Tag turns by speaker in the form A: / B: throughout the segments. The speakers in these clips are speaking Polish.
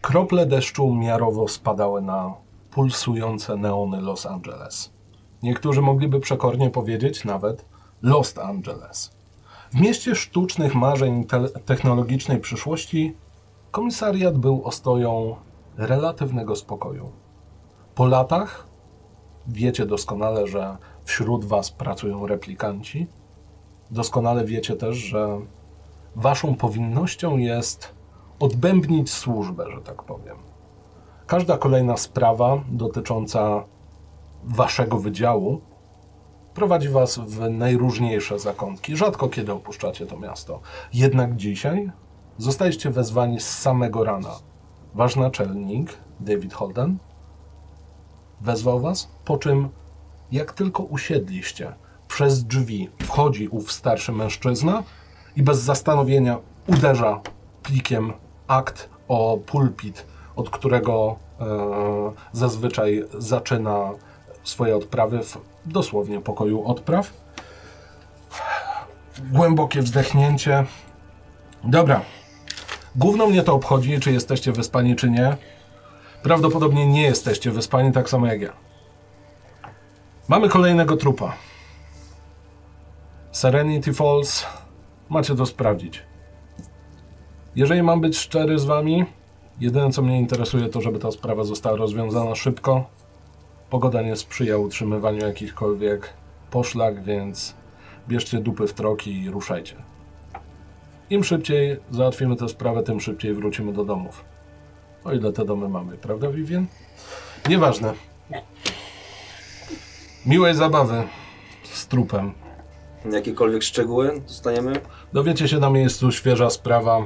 A: Krople deszczu miarowo spadały na pulsujące neony Los Angeles. Niektórzy mogliby przekornie powiedzieć nawet Los Angeles. W mieście sztucznych marzeń te- technologicznej przyszłości komisariat był ostoją relatywnego spokoju. Po latach wiecie doskonale, że wśród was pracują replikanci. Doskonale wiecie też, że waszą powinnością jest odbębnić służbę, że tak powiem. Każda kolejna sprawa dotycząca waszego wydziału prowadzi was w najróżniejsze zakątki. Rzadko kiedy opuszczacie to miasto. Jednak dzisiaj zostaliście wezwani z samego rana. Wasz naczelnik, David Holden, wezwał was, po czym jak tylko usiedliście, przez drzwi wchodzi ów starszy mężczyzna i bez zastanowienia uderza plikiem akt o pulpit, od którego e, zazwyczaj zaczyna swoje odprawy w dosłownie pokoju odpraw. Głębokie wzdechnięcie. Dobra. Główno mnie to obchodzi, czy jesteście wyspani, czy nie. Prawdopodobnie nie jesteście wyspani tak samo jak ja. Mamy kolejnego trupa. Serenity Falls. Macie to sprawdzić. Jeżeli mam być szczery z wami, jedyne co mnie interesuje to, żeby ta sprawa została rozwiązana szybko. Pogoda nie sprzyja utrzymywaniu jakichkolwiek poszlak, więc bierzcie dupy w troki i ruszajcie. Im szybciej załatwimy tę sprawę, tym szybciej wrócimy do domów. O ile te domy mamy, prawda, Vivien? Nieważne. Miłej zabawy z trupem.
B: Jakiekolwiek szczegóły dostaniemy?
A: Dowiecie się na miejscu, świeża sprawa.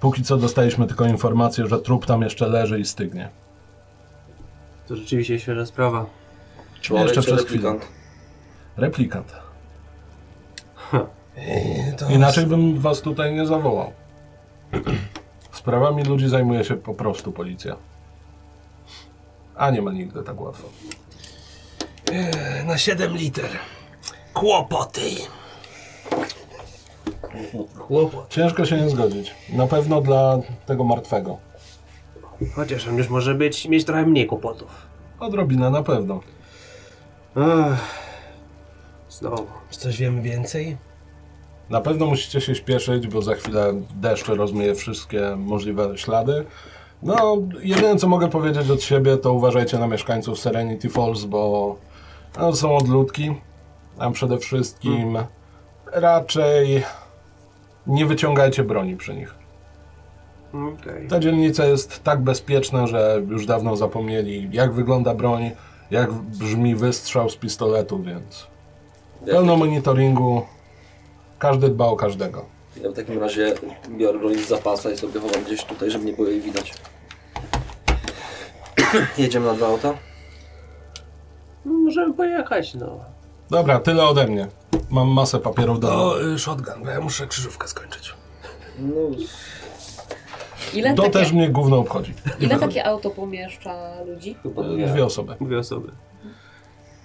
A: Póki co dostaliśmy tylko informację, że trup tam jeszcze leży i stygnie.
C: To rzeczywiście świeża sprawa.
B: Człowiek
A: Jeszcze
B: czy
A: przez
B: replikant?
A: Replikant.
D: I to
A: Inaczej bym was tutaj nie zawołał. Sprawami ludzi zajmuje się po prostu policja. A nie ma nigdy tak łatwo.
D: na 7 liter. Kłopoty. Kłopot.
A: Ciężko się nie zgodzić. Na pewno dla tego martwego.
C: Chociaż on już może być, mieć trochę mniej kłopotów.
A: Odrobinę na pewno.
C: Ech. Znowu.
D: Czy coś wiemy więcej?
A: Na pewno musicie się śpieszyć, bo za chwilę deszcz rozmyje wszystkie możliwe ślady. No, jedyne co mogę powiedzieć od siebie, to uważajcie na mieszkańców Serenity Falls, bo no, są odludki, a przede wszystkim raczej nie wyciągajcie broni przy nich.
C: Okej.
A: Ta dzielnica jest tak bezpieczna, że już dawno zapomnieli, jak wygląda broń, jak brzmi wystrzał z pistoletu, więc pełno monitoringu, każdy dba o każdego.
B: Ja w takim razie biorę broń z zapasa i sobie chowam gdzieś tutaj, żeby nie było jej widać. Jedziemy na dwa auta?
C: No, Możemy pojechać, no.
A: Dobra, tyle ode mnie. Mam masę papierów do.
D: To y, shotgun, bo ja muszę krzyżówkę skończyć.
B: No,
E: Ile,
A: To
E: takie,
A: też mnie gówno obchodzi.
E: ile takie auto pomieszcza ludzi?
B: chyba
A: E, Dwie osoby.
C: Dwie osoby.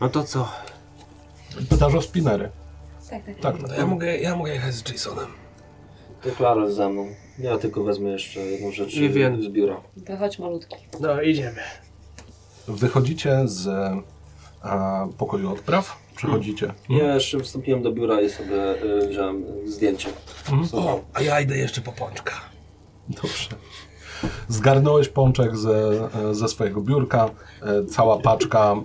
C: No to co?
A: Pytasz o spinery.
E: Tak, tak.
A: Tak,
D: To No, ja mogę, ja mogę jechać z Jasonem.
B: To Klaro ze mną. Ja tylko wezmę jeszcze jedną rzecz
C: Nie wiem.
B: z biura.
A: Mhm.
E: To chodź malutki.
C: No, idziemy.
A: Wychodzicie z a, pokoju odpraw. Przychodzicie.
D: Mm.
B: Ja jeszcze wstąpiłem do biura i sobie y, wziąłem zdjęcie.
A: Mhm.
D: O, a ja idę jeszcze po pączka.
A: Dobrze. Zgarnąłeś pączek ze, ze swojego biurka. E, Cała paczka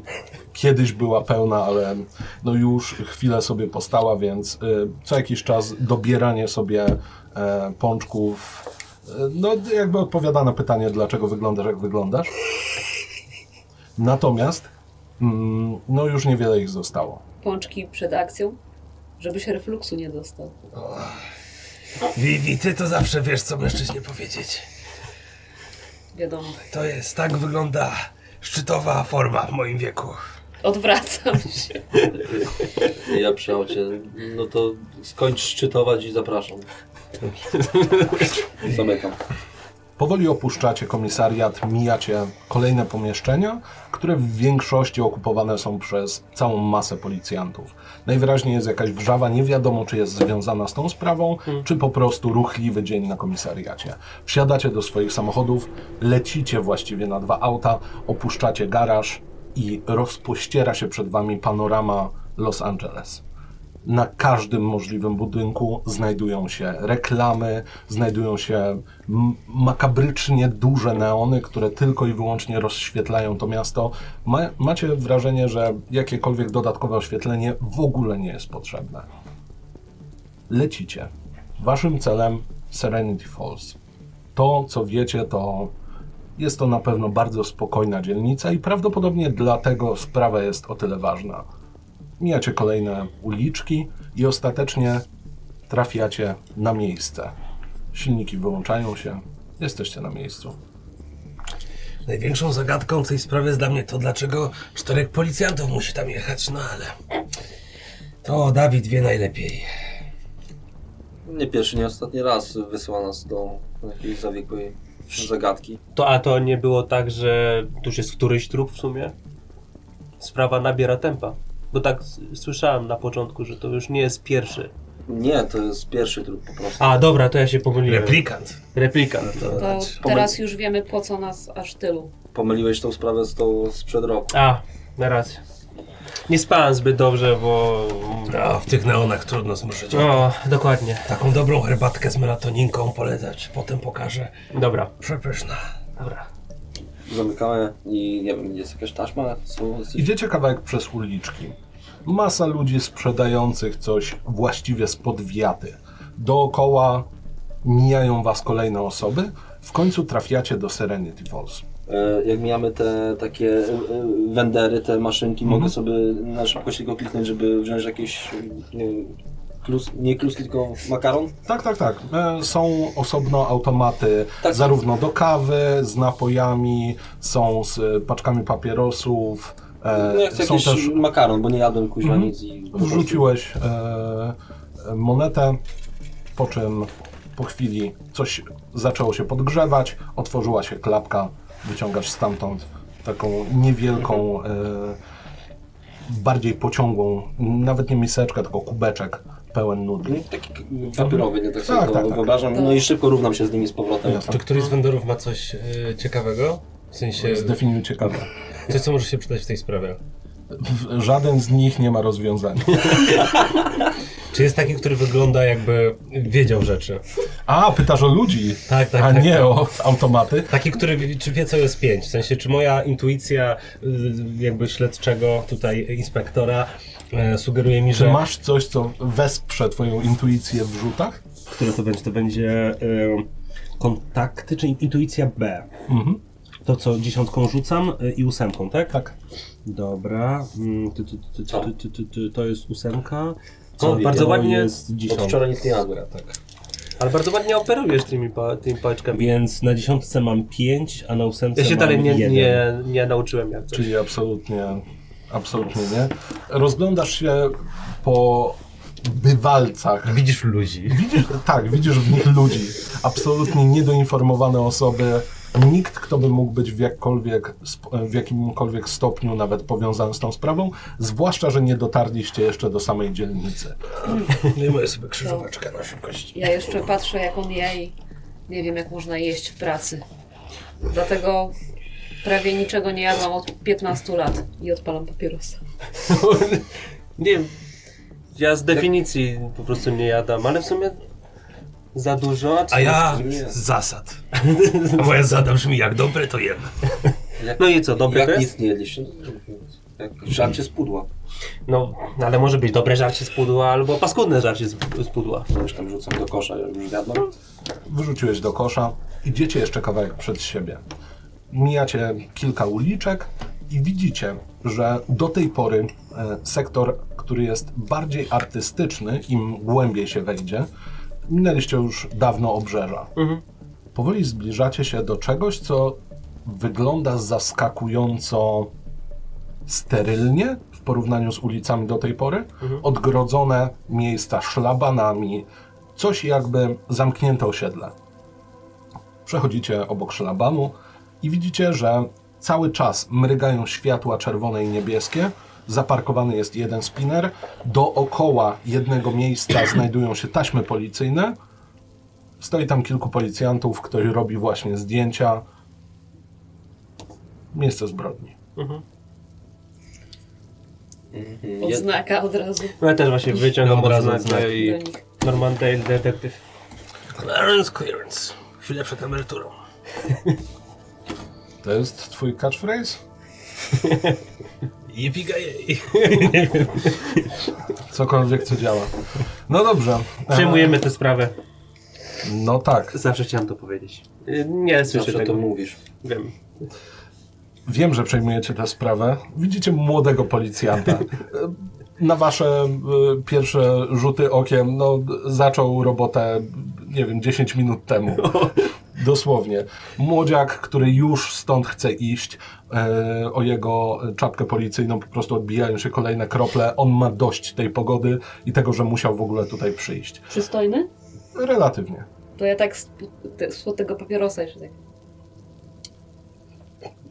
A: kiedyś była pełna, ale no już chwilę sobie postała, więc e, co jakiś czas dobieranie sobie e, pączków. e, No, jakby odpowiada na pytanie, dlaczego wyglądasz, jak wyglądasz. Natomiast, mm, no już niewiele ich zostało.
E: Pączki przed akcją, żeby się refluksu nie dostał.
D: Vivi, ty to zawsze wiesz, co mężczyźnie powiedzieć.
E: Wiadomo.
D: To jest, tak wygląda szczytowa forma w moim wieku.
B: No
A: Powoli opuszczacie komisariat, mijacie kolejne pomieszczenia, które w większości okupowane są przez całą masę policjantów. Najwyraźniej jest jakaś wrzawa, nie wiadomo czy jest związana z tą sprawą, czy po prostu ruchliwy dzień na komisariacie. Wsiadacie do swoich samochodów, lecicie właściwie na dwa auta, opuszczacie garaż i rozpościera się przed wami panorama Los Angeles. Na każdym możliwym budynku znajdują się reklamy, znajdują się m- makabrycznie duże neony, które tylko i wyłącznie rozświetlają to miasto. Ma, macie wrażenie, że jakiekolwiek dodatkowe oświetlenie w ogóle nie jest potrzebne. Lecicie. Waszym celem Serenity Falls. To, co wiecie, to jest to na pewno bardzo spokojna dzielnica i prawdopodobnie dlatego sprawa jest o tyle ważna mijacie kolejne uliczki i ostatecznie trafiacie na miejsce. Silniki wyłączają się, jesteście na miejscu.
D: Największą zagadką w tej sprawie jest dla mnie to, dlaczego czterech policjantów musi tam jechać, no ale... To Dawid wie najlepiej.
B: Nie pierwszy, nie ostatni raz wysyła nas do jakiejś zawiekłej zagadki.
C: To, a to nie było tak, że tuż jest któryś trup w sumie? Sprawa nabiera tempa. Bo tak s- słyszałem na początku, że to już nie jest pierwszy.
B: Nie, to jest pierwszy trup po prostu. Tak.
C: A, dobra, to ja się pomyliłem.
D: Replikant.
C: Replika.
E: To
B: Pomyl-
E: teraz już wiemy, po co nas aż tylu.
B: pomyliłeś tą sprawę z tą sprzed roku.
C: A, na rację. Nie spałem zbyt dobrze, bo...
D: No, w tych neonach trudno zmrużyć.
F: No.
C: O, dokładnie.
D: Taką dobrą herbatkę z melatoninką polecać. Potem pokażę.
C: Dobra,
D: Przepyszna.
C: dobra.
B: Zamykamy i nie wiem, jest jakaś taśma? Są jacyś...
A: Idziecie kawałek przez uliczki. Masa ludzi sprzedających coś właściwie spod wiaty. Dookoła mijają was kolejne osoby. W końcu trafiacie do Serenity Falls.
B: E, Jak mijamy te takie e, e, wendery, te maszynki, mogę
A: Mhm.
B: sobie na szybkość tylko kliknąć, żeby wziąć jakieś, nie wiem, klus, nie kluski, tylko makaron?
A: Tak, tak, tak. E, Są osobno automaty
B: Tak.
A: zarówno do kawy, z napojami, są z e, paczkami papierosów, e,
B: No ja chcę
A: są
B: jakiś
A: też... Mhm.
B: makaron, bo nie jadłem kuźwa nic i... po prostu-
A: Wrzuciłeś e, e, monetę, po czym po chwili coś zaczęło się podgrzewać, otworzyła się klapka, wyciągasz stamtąd taką niewielką,
B: Mhm.
A: e, bardziej pociągłą, nawet nie miseczkę, tylko kubeczek pełen nudli.
B: No, Taki k- papierowy, nie tak sobie
A: Tak,
B: to
A: tak, No, tak.
B: wyobrażam. No i szybko równam się z nimi z powrotem.
A: Jasne.
F: Czy któryś z vendorów ma coś e, ciekawego? W sensie,
A: Zdefiniujcie kawę.
F: coś co może się przydać w tej sprawie.
A: W- Żaden z nich nie ma rozwiązania.
F: Czy jest taki, który wygląda jakby wiedział rzeczy?
A: A, pytasz o ludzi,
F: Tak, tak,
A: a
F: tak.
A: nie
F: tak.
A: o automaty.
F: Taki, który wie- czy wie co jest pięć? W sensie, czy moja intuicja y, jakby śledczego tutaj inspektora e, sugeruje mi,
A: Czy
F: że...
A: masz coś, co wesprze twoją intuicję w rzutach?
F: Który to będzie? To będzie y, kontakty, czy intuicja B? To co, dziesiątką rzucam y, i ósemką, Mhm. tak?
A: Tak.
F: Dobra, mm, ty, ty, ty, ty, ty, ty, ty, ty, to jest ósemka.
C: O,
F: wie-
C: bardzo
F: to
C: ładnie.
F: Jest
B: Od
F: dziesiątka.
B: wczoraj nic nie jadłem.
F: Tak.
C: Ale bardzo ładnie operujesz tymi, pa, tymi paczkami.
F: Więc na dziesiątce mam 5, a na ósemce
C: Ja się
F: mam
C: dalej nie,
F: jeden.
C: nie, nie nauczyłem jak coś.
A: Czyli absolutnie, absolutnie nie. Rozglądasz się po bywalcach.
F: Widzisz ludzi.
A: Widzisz, tak, widzisz w nich ludzi. Absolutnie niedoinformowane osoby. Nikt, kto by mógł być w, jakkolwiek, sp- w jakimkolwiek stopniu nawet powiązany z tą sprawą, zwłaszcza, że nie dotarliście jeszcze do samej dzielnicy.
D: Wyjmuję sobie krzyżowaczkę na szybkość.
E: Ja jeszcze patrzę, jak on je i nie wiem, jak można jeść w pracy. Dlatego prawie niczego nie jadłam od 15 lat i odpalam papierosa.
C: nie wiem. Ja z definicji po prostu nie jadam, ale w sumie za dużo. co-
D: A ja
B: Nie.
D: z zasad. A moja zasada brzmi jak dobre, to jem.
C: No i co, dobre to
B: Jak
C: jest?
B: nic nie jedliście? No, Jak żarcie z pudła.
C: No, ale może być dobre żarcie z pudła albo paskudne żarcie z, z pudła.
B: To Już tam rzucam do kosza, ja już jadłem.
A: wyrzuciłeś do kosza, idziecie jeszcze kawałek przed siebie. Mijacie kilka uliczek i widzicie, że do tej pory e, sektor, który jest bardziej artystyczny, im głębiej się wejdzie, minęliście już dawno obrzeża. Powoli zbliżacie się do czegoś, co wygląda zaskakująco sterylnie w porównaniu z ulicami do tej pory. Odgrodzone miejsca szlabanami, coś jakby zamknięte osiedle. Przechodzicie obok szlabamu i widzicie, że cały czas mrygają światła czerwone i niebieskie. Zaparkowany jest jeden spinner. Dookoła jednego miejsca znajdują się taśmy policyjne. Stoi tam kilku policjantów, ktoś robi właśnie zdjęcia. Miejsce zbrodni.
B: Jed-
E: Odznaka od razu
C: No ja też właśnie wyciągam
F: od razu
B: No
C: odznakę
E: do
C: i
E: nich.
C: Normandale detektyw.
D: Clarence, clearance. Chwilę przed emeryturą.
A: To jest twój catchphrase?
D: Jepigajej.
A: Cokolwiek, co działa. No dobrze.
C: Przejmujemy tę sprawę.
A: E, No tak.
C: Zawsze chciałem to powiedzieć. Y, Nie słyszę
B: Zawsze
C: tego.
B: to mówisz.
C: Wiem.
A: Wiem, że przejmujecie tę sprawę. Widzicie młodego policjanta. E, Na wasze e, pierwsze rzuty okiem, no, d- zaczął robotę, nie wiem, 10 minut temu. Dosłownie. Młodziak, który już stąd chce iść, e, o jego czapkę policyjną po prostu odbijają się kolejne krople. On ma dość tej pogody i tego, że musiał w ogóle tutaj przyjść.
E: Przystojny?
A: Relatywnie.
E: To ja tak spod, te, spod tego papierosa jeszcze tak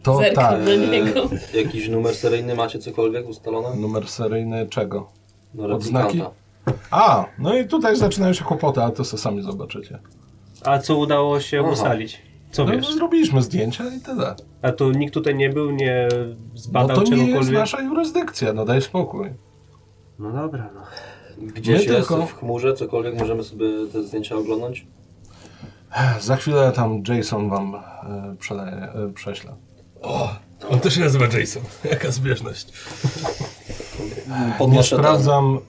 A: To tak.
E: zerkam na niego.
B: E, Jakiś numer seryjny macie cokolwiek ustalone?
A: tak. Numer seryjny czego?
B: No,
A: Odznaki?
B: replikanta.
A: A, no i tutaj zaczynają się kłopoty, ale to sobie sami zobaczycie.
C: A co udało się
B: Aha.
C: ustalić? Co
A: No,
C: wiesz?
A: zrobiliśmy zdjęcia i tyle.
C: A to nikt tutaj nie był, nie
A: No
C: zbadał
A: to nie
C: czegokolwiek?
A: jest nasza jurysdykcja, no daj spokój.
C: No dobra, no.
B: Gdzieś
A: Nie
B: jest
A: tylko.
B: w chmurze, cokolwiek możemy sobie te zdjęcia oglądać?
A: Za chwilę tam Jason wam e, przeleje, e, prześle.
D: O, on też się nazywa Jason. Jaka zbieżność.
A: Nie
B: Podnoszę, te,
A: sprawdzam,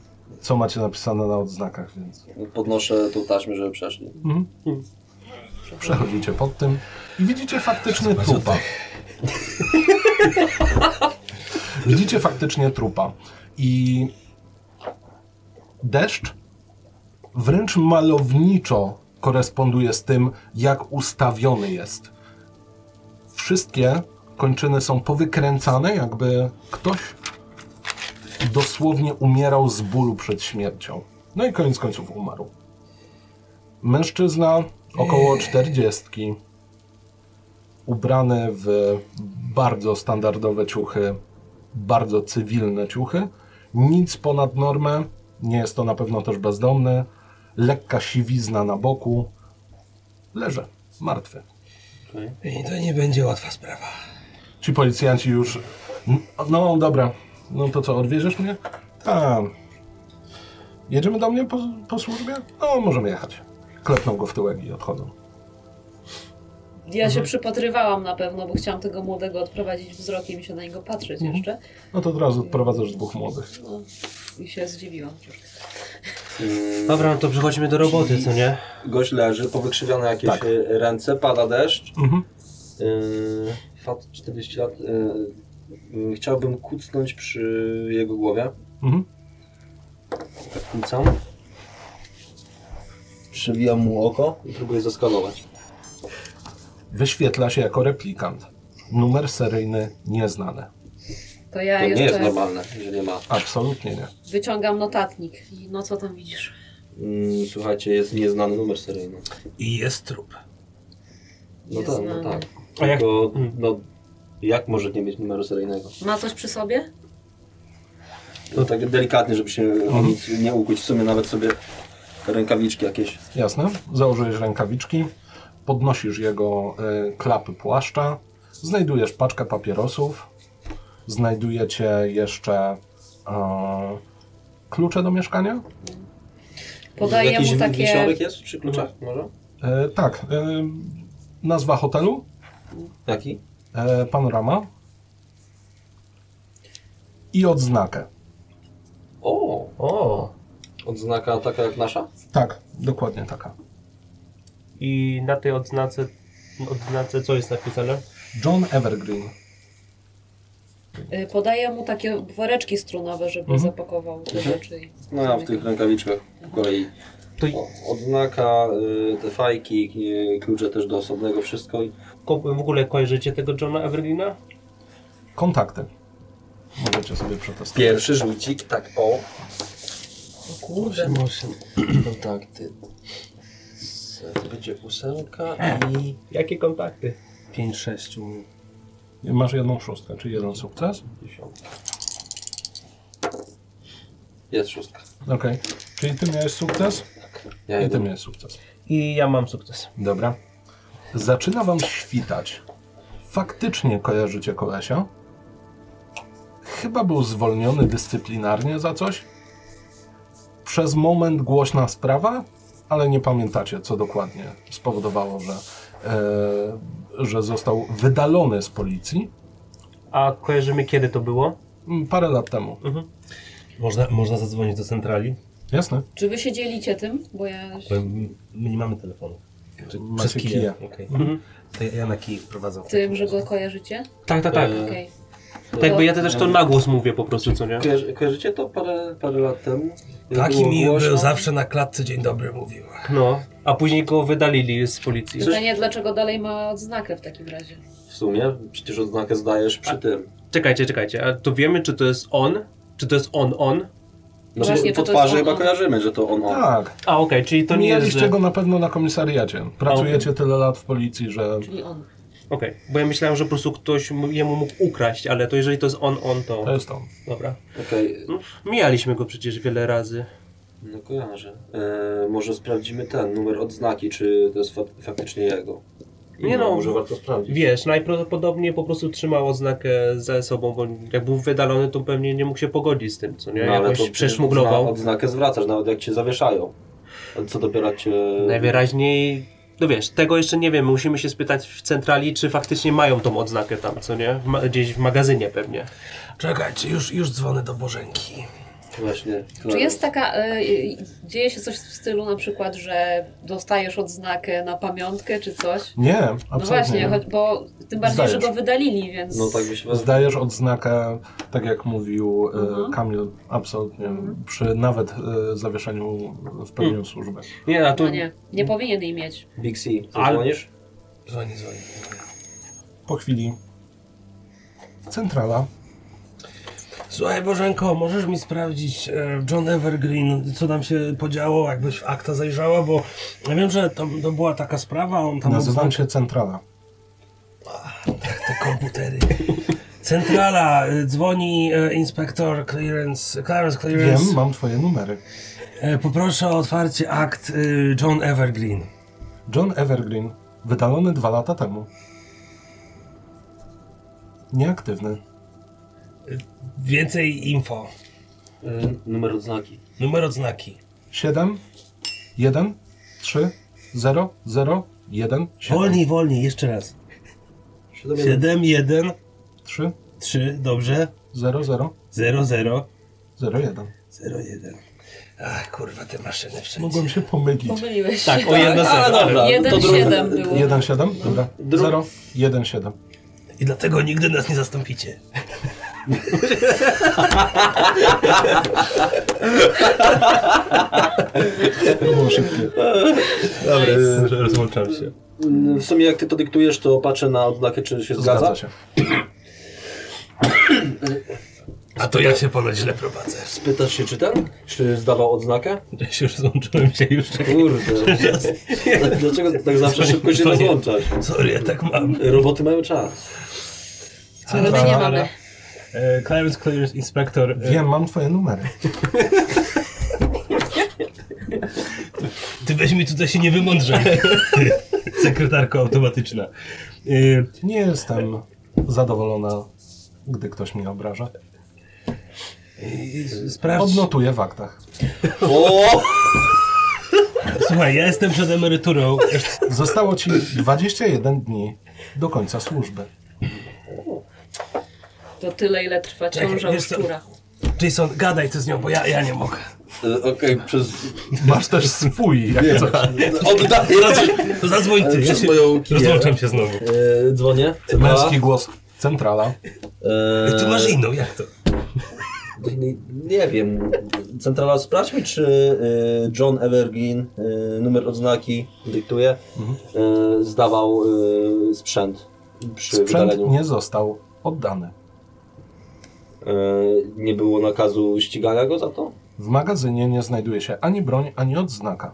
A: co macie napisane na odznakach, więc
B: podnoszę tą taśmę, żeby przeszli.
A: przechodzicie pod tym i widzicie faktyczny trupa. widzicie faktycznie trupa. I deszcz wręcz malowniczo koresponduje z tym, jak ustawiony jest. Wszystkie kończyny są powykręcane, jakby ktoś dosłownie umierał z bólu przed śmiercią. No i koniec końców umarł. Mężczyzna około czterdziestki, ubrany w bardzo standardowe ciuchy, bardzo cywilne ciuchy, nic ponad normę, nie jest to na pewno też bezdomny, lekka siwizna na boku, leży, martwy.
D: I to nie będzie łatwa sprawa.
A: Ci policjanci już, no dobra, no to co, odwieziesz mnie? Tak. Jedziemy do mnie po, po służbie? No, możemy jechać. Klepną go w tyłek i odchodzą.
E: Ja się przypatrywałam na pewno, bo chciałam tego młodego odprowadzić wzrokiem i się na niego patrzeć jeszcze.
A: No to od razu odprowadzasz dwóch młodych.
E: No, I się zdziwiłam.
B: Mm,
C: Dobra, no to przechodzimy do roboty, co nie?
B: Gość leży, powykrzywione jakieś
A: Tak.
B: e, ręce, pada deszcz.
A: Mhm.
B: Yy, fat 40 lat. e, mm, chciałbym kucnąć przy jego głowie.
A: Mhm.
B: Tak kucam. Przewijam mu oko i próbuję zaskanować.
A: Wyświetla się jako replikant. Numer seryjny nieznany.
E: To ja
B: To nie
E: jeszcze
B: jest normalne, że nie ma.
A: Absolutnie nie.
E: wyciągam notatnik. I no co tam widzisz?
B: Mm, słuchajcie, jest nieznany numer seryjny.
D: I jest trup.
B: No tak, no
E: Nieznany.
B: tak.
C: A jak- Mm.
B: Tylko, no, jak może nie mieć numeru seryjnego?
E: Ma coś przy sobie?
B: No tak delikatnie, żeby się
C: Mhm.
B: o nic nie ukłuć. W sumie nawet sobie rękawiczki jakieś.
A: Jasne. Założyłeś rękawiczki, podnosisz jego y, klapy płaszcza, znajdujesz paczkę papierosów, znajdujecie jeszcze e, klucze do mieszkania?
E: Podaję
B: Jakiś
E: mu takie. Mhm.
B: wisiorek jest przy kluczach może?
A: E, tak. e, nazwa hotelu?
B: Jaki?
A: E, panorama. I odznakę.
B: O,
C: O.
B: odznaka taka jak nasza?
A: Tak, dokładnie taka.
C: I na tej odznace, odznace co jest napisane?
A: John Evergreen.
E: y, Podaję mu takie woreczki strunowe, żeby zapakował te rzeczy. i-
B: No ja w tych rękawiczkach po kolei.
C: To
B: O, Odznaka, y, te fajki, y, klucze też do osobnego, wszystko. i-
C: ko- w ogóle kojarzycie tego Johna Evergreena?
A: Kontakty. Możecie sobie przetestować.
B: Pierwszy rzucik, tak o.
E: O kurde.
B: Kontakty. to tak, będzie ósemka
E: E.
B: i...
C: Jakie kontakty?
F: 5, 6.
A: Masz jedną szóstkę, czyli jeden sukces.
B: Dziesiątka. Jest szóstka.
A: Okej. Czyli ty miałeś sukces
B: Ja
A: i ty
B: jeden.
A: miałeś sukces.
C: I ja mam sukces.
A: Dobra. Zaczyna wam świtać. Faktycznie kojarzycie kolesia. Chyba był zwolniony dyscyplinarnie za coś. Przez moment głośna sprawa, ale nie pamiętacie, co dokładnie spowodowało, że, e, że został wydalony z policji
C: A kojarzymy kiedy to było?
A: Mm, parę lat temu.
F: Można, można zadzwonić do centrali?
A: Jasne?
E: Czy wy się dzielicie tym? Bo ja...
F: Bo my nie mamy telefonu.
D: Znaczy,
F: Czy
A: Macie
F: przez
A: kije.
F: Okej.
C: Mhm.
F: To ja na kij wprowadzam.
E: Tym, że go kojarzycie?
C: Tak, tak, tak.
B: E,
E: Okej.
C: Tak, bo ja też to na głos mówię po prostu, co nie?
B: Kojarzy, kojarzycie to parę, parę lat temu?
D: Taki
B: Było
D: miły
B: głośno.
D: był, zawsze na klatce dzień dobry mówił.
C: No. A później go wydalili z policji.
E: Pytanie, dlaczego dalej ma odznakę w takim razie?
B: W sumie, przecież odznakę zdajesz przy tym.
C: Czekajcie, czekajcie. A to wiemy, czy to jest on? Czy to jest on, on?
B: No
E: Właśnie,
B: bo
E: czy
B: po
E: to jest
B: twarzy
E: on,
B: chyba
E: on?
B: kojarzymy, że to on, on.
A: Tak.
C: A okej, czyli to nie jest,
A: Mijaliście
C: że...
A: go na pewno na komisariacie. Pracujecie tyle lat w policji, że
E: Czyli on.
C: Okej, bo ja myślałem, że po prostu ktoś mu- jemu mógł ukraść, ale to jeżeli to jest on, on, to...
A: to jest on.
C: Dobra.
B: Okej,
C: No, Mijaliśmy go przecież wiele razy.
B: no kojarzę. E, może sprawdzimy ten numer odznaki, czy to jest fak- faktycznie jego.
C: Nie no,
B: może warto sprawdzić.
C: Wiesz, najprawdopodobniej po prostu trzymał odznakę ze sobą, bo jak był wydalony, to pewnie nie mógł się pogodzić z tym, co nie?
B: No, ale
C: Jakoś
B: to zna-
C: przeszmuglował.
B: Odznakę zwracasz, nawet jak cię zawieszają. A Co dopiero cię...
C: Najwyraźniej, no wiesz, tego jeszcze nie wiemy. Musimy się spytać w centrali, czy faktycznie mają tą odznakę tam, co nie? Ma, gdzieś w magazynie pewnie.
D: Czekajcie, już, już dzwonię do Bożenki.
B: Właśnie.
E: Czy jest taka, e, e, dzieje się coś w stylu na przykład, że dostajesz odznakę na pamiątkę czy coś?
A: Nie,
E: No
A: absolutnie.
E: właśnie,
A: nie.
E: choć, bo tym bardziej,
A: Zdajesz.
E: że go wydalili, więc...
B: No tak by się...
A: Zdajesz odznakę, tak jak mówił e,
E: Mhm.
A: Kamil, absolutnie, przy nawet e, zawieszeniu w pełni służby.
C: Nie, a tu...
E: No nie, nie powinien jej mieć.
B: Big C,
C: Ale-
B: zadzwonisz?
D: Dzwoni, dzwoni.
A: Po chwili centrala.
D: Słuchaj Bożenko, możesz mi sprawdzić e, John Evergreen, co tam się podziało, jakbyś w akta zajrzała, bo ja wiem, że to, to była taka sprawa, on tam
A: Nazywam
D: odznaczył
A: się centrala.
D: te komputery. Centrala, y, dzwoni e, inspektor clearance, Clarence
A: Wiem,
D: Clearance.
A: mam twoje numery.
D: E, poproszę o otwarcie akt y, John Evergreen.
A: John Evergreen, wydalony dwa lata temu. Nieaktywny.
D: Więcej info.
B: Y, Numer odznaki.
D: Numer odznaki.
A: 7, 1, 3, 0, 0, 1, 7,
D: Wolniej, wolniej, jeszcze raz. 7, 1,
A: 3,
D: 3, dobrze.
A: 0, 0,
D: 0, 0,
A: 0, 1.
D: 0, 1. Ach, kurwa, te maszyny wszędzie.
A: Mogłem się pomylić.
E: Pomyliłeś
C: Tak,
E: się.
C: o jedno
B: ale
C: zero.
B: dobra. No
E: Jeden,
B: to drugi-
E: siedem było.
A: 1,7? Dobra.
B: Dru-
A: 0, 1,7.
D: I dlatego nigdy nas nie zastąpicie.
A: To było szybkie.
E: Nice.
F: Rozłączam się.
B: Y, W sumie jak ty to dyktujesz, to patrzę na odznakę, czy się zgadza.
A: Zgadza się.
D: A to ja się ponoć źle prowadzę.
B: Spytasz się, czy ten? Czy zdawał odznakę?
F: Ja się już złączyłem się już.
B: Kurde. Dlaczego tak zawsze szybko się
F: To nie-
B: rozłączasz?
D: Sorry, ja tak mam.
B: Roboty mają czas.
E: Ale my nie mamy.
F: E, Clarence Clearance Inspector. e,
A: Wiem, mam twoje numery.
F: Ty weź mi tutaj się nie wymądrzaj. Sekretarko automatyczna. E,
A: Nie jestem zadowolona, gdy ktoś mnie obraża.
D: Sprawdź.
A: Odnotuję w aktach.
B: O!
F: słuchaj, ja jestem przed emeryturą.
A: Zostało ci 21 dni do końca służby.
E: To tyle, ile trwa
D: Czekaj,
E: ciąża u
D: wiesz co?
E: szczura.
D: Jason, gadaj ty z nią, bo ja, ja nie mogę.
B: Y, Okej, przez...
A: Masz też swój, jak coś.
B: No. Oddaję
D: To zadzwoń ty. Ja
B: przez
D: się...
B: moją kiję.
F: Rozłączam się znowu.
B: Y, Dzwonię.
A: Męski głos. Centrala.
B: Y,
D: Ty masz inną, jak to?
B: nie- Nie wiem. Centrala, sprawdź mi, czy y, John Evergreen, y, numer odznaki, dyktuje, y, zdawał y, sprzęt przy
A: Sprzęt
B: wydaleniu.
A: nie został oddany.
B: Y, Nie było nakazu ścigania go za to?
A: W magazynie nie znajduje się ani broń, ani odznaka.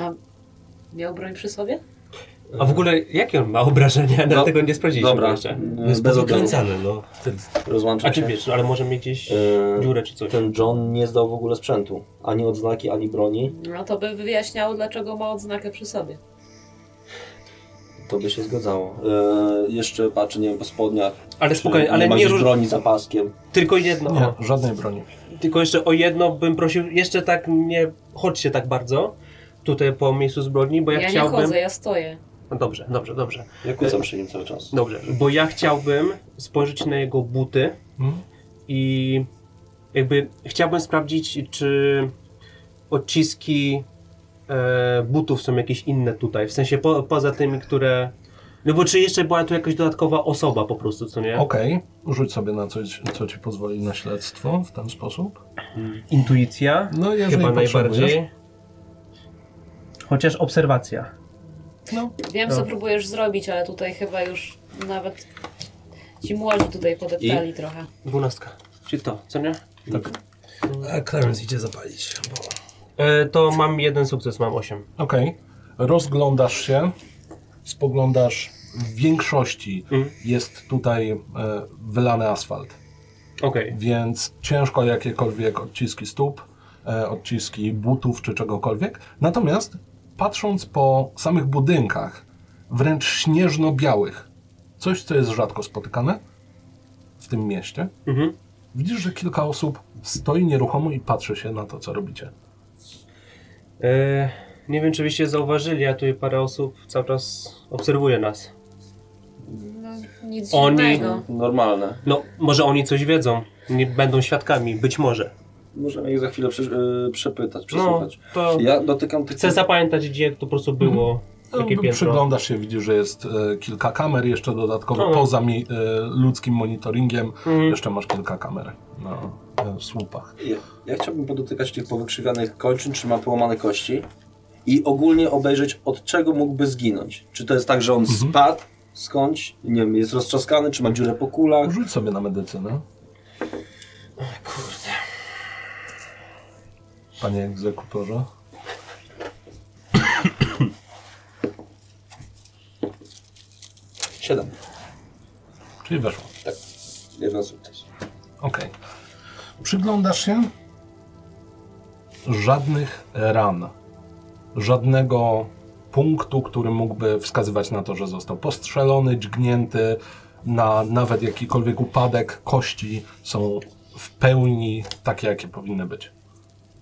E: A miał broń przy sobie?
C: A w ogóle jakie on ma obrażenia?
B: No,
C: Dlatego nie sprawdziliśmy
B: Dobra,
C: go jeszcze.
B: e,
F: Jest
B: bez odbioru.
F: podkręcany, no. Wtedy
B: Rozłączam
C: A czy
B: się.
C: wiesz, no, ale może mieć gdzieś
B: E,
C: dziurę czy coś.
B: Ten John nie zdał w ogóle sprzętu. Ani odznaki, ani broni.
E: No to by wyjaśniało, dlaczego ma odznakę przy sobie.
B: To by się zgadzało. E, jeszcze patrzę, nie wiem, po spodniach.
C: Ale
B: Czy
C: spokojnie, ale
B: ma
C: nie
B: gdzieś
C: róż...
B: broni za paskiem.
C: Tylko jedno.
A: Nie, żadnej broni.
C: Tylko jeszcze o jedno bym prosił, jeszcze tak nie chodźcie tak bardzo tutaj po miejscu zbrodni, bo ja,
E: ja
C: chciałbym...
E: nie chodzę, ja stoję.
C: No dobrze, dobrze, dobrze.
B: Ja kłócam
C: E,
B: przy nim cały czas.
C: Dobrze, bo ja chciałbym spojrzeć na jego buty
A: Mhm.
C: i jakby chciałbym sprawdzić, czy odciski e, butów są jakieś inne tutaj, w sensie po, poza tymi, które... No bo czy jeszcze była tu jakaś dodatkowa osoba po prostu, co nie?
A: Okej, rzuć sobie na coś, co ci pozwoli na śledztwo w ten sposób.
C: Intuicja?
A: No, jeżeli
C: Chyba
A: potrzebujesz.
C: najbardziej. Chociaż obserwacja.
A: No,
E: Wiem, co próbujesz zrobić, ale tutaj chyba już nawet ci młodzi tutaj podeptali trochę.
C: Dwunastka. Czyli to, co nie?
D: A Clarence idzie zapalić. Bo...
C: E, to mam jeden sukces, mam osiem.
A: Okej. Rozglądasz się, spoglądasz. W większości
C: Mhm.
A: jest tutaj e, wylany asfalt,
C: Okej.
A: więc ciężko jakiekolwiek odciski stóp, e, odciski butów czy czegokolwiek. Natomiast patrząc po samych budynkach, wręcz śnieżno-białych, coś co jest rzadko spotykane w tym mieście,
C: Mhm.
A: widzisz, że kilka osób stoi nieruchomo i patrzy się na to, co robicie.
C: E, nie wiem, czy byście zauważyli, a tu parę osób cały czas obserwuje nas.
E: No, nic
C: Oni-
E: dziwnego.
B: Normalne.
C: No, może oni coś wiedzą. Nie będą świadkami, być może.
B: Możemy ich za chwilę prze, y, przepytać,
C: No,
B: przesłuchać.
C: to
B: Ja dotykam tych...
C: chcę zapamiętać, gdzie to po prostu było.
A: No,
C: Jakie piętro.
A: Przyglądasz się, widzisz, że jest e, kilka kamer jeszcze dodatkowo
C: No.
A: poza mi, e, ludzkim monitoringiem.
C: Mhm.
A: Jeszcze masz kilka kamer na e, słupach.
B: Ja, ja chciałbym podotykać tych powykrzywianych kończyn, czy ma połamane kości i ogólnie obejrzeć, od czego mógłby zginąć. Czy to jest tak, że on
C: Mhm.
B: spadł skądś, nie wiem, jest roztrzaskany, czy ma dziurę po kulach.
C: Mhm.
A: Rzuć sobie na medycynę,
C: Kurde.
A: panie egzekutorze.
B: Siedem. Tak,
A: Czyli weszło.
B: Jedna sukces.
A: Okej. Przyglądasz się? Żadnych ran. Żadnego punktu, który mógłby wskazywać na to, że został postrzelony, dźgnięty, na nawet jakikolwiek upadek kości są w pełni takie, jakie powinny być.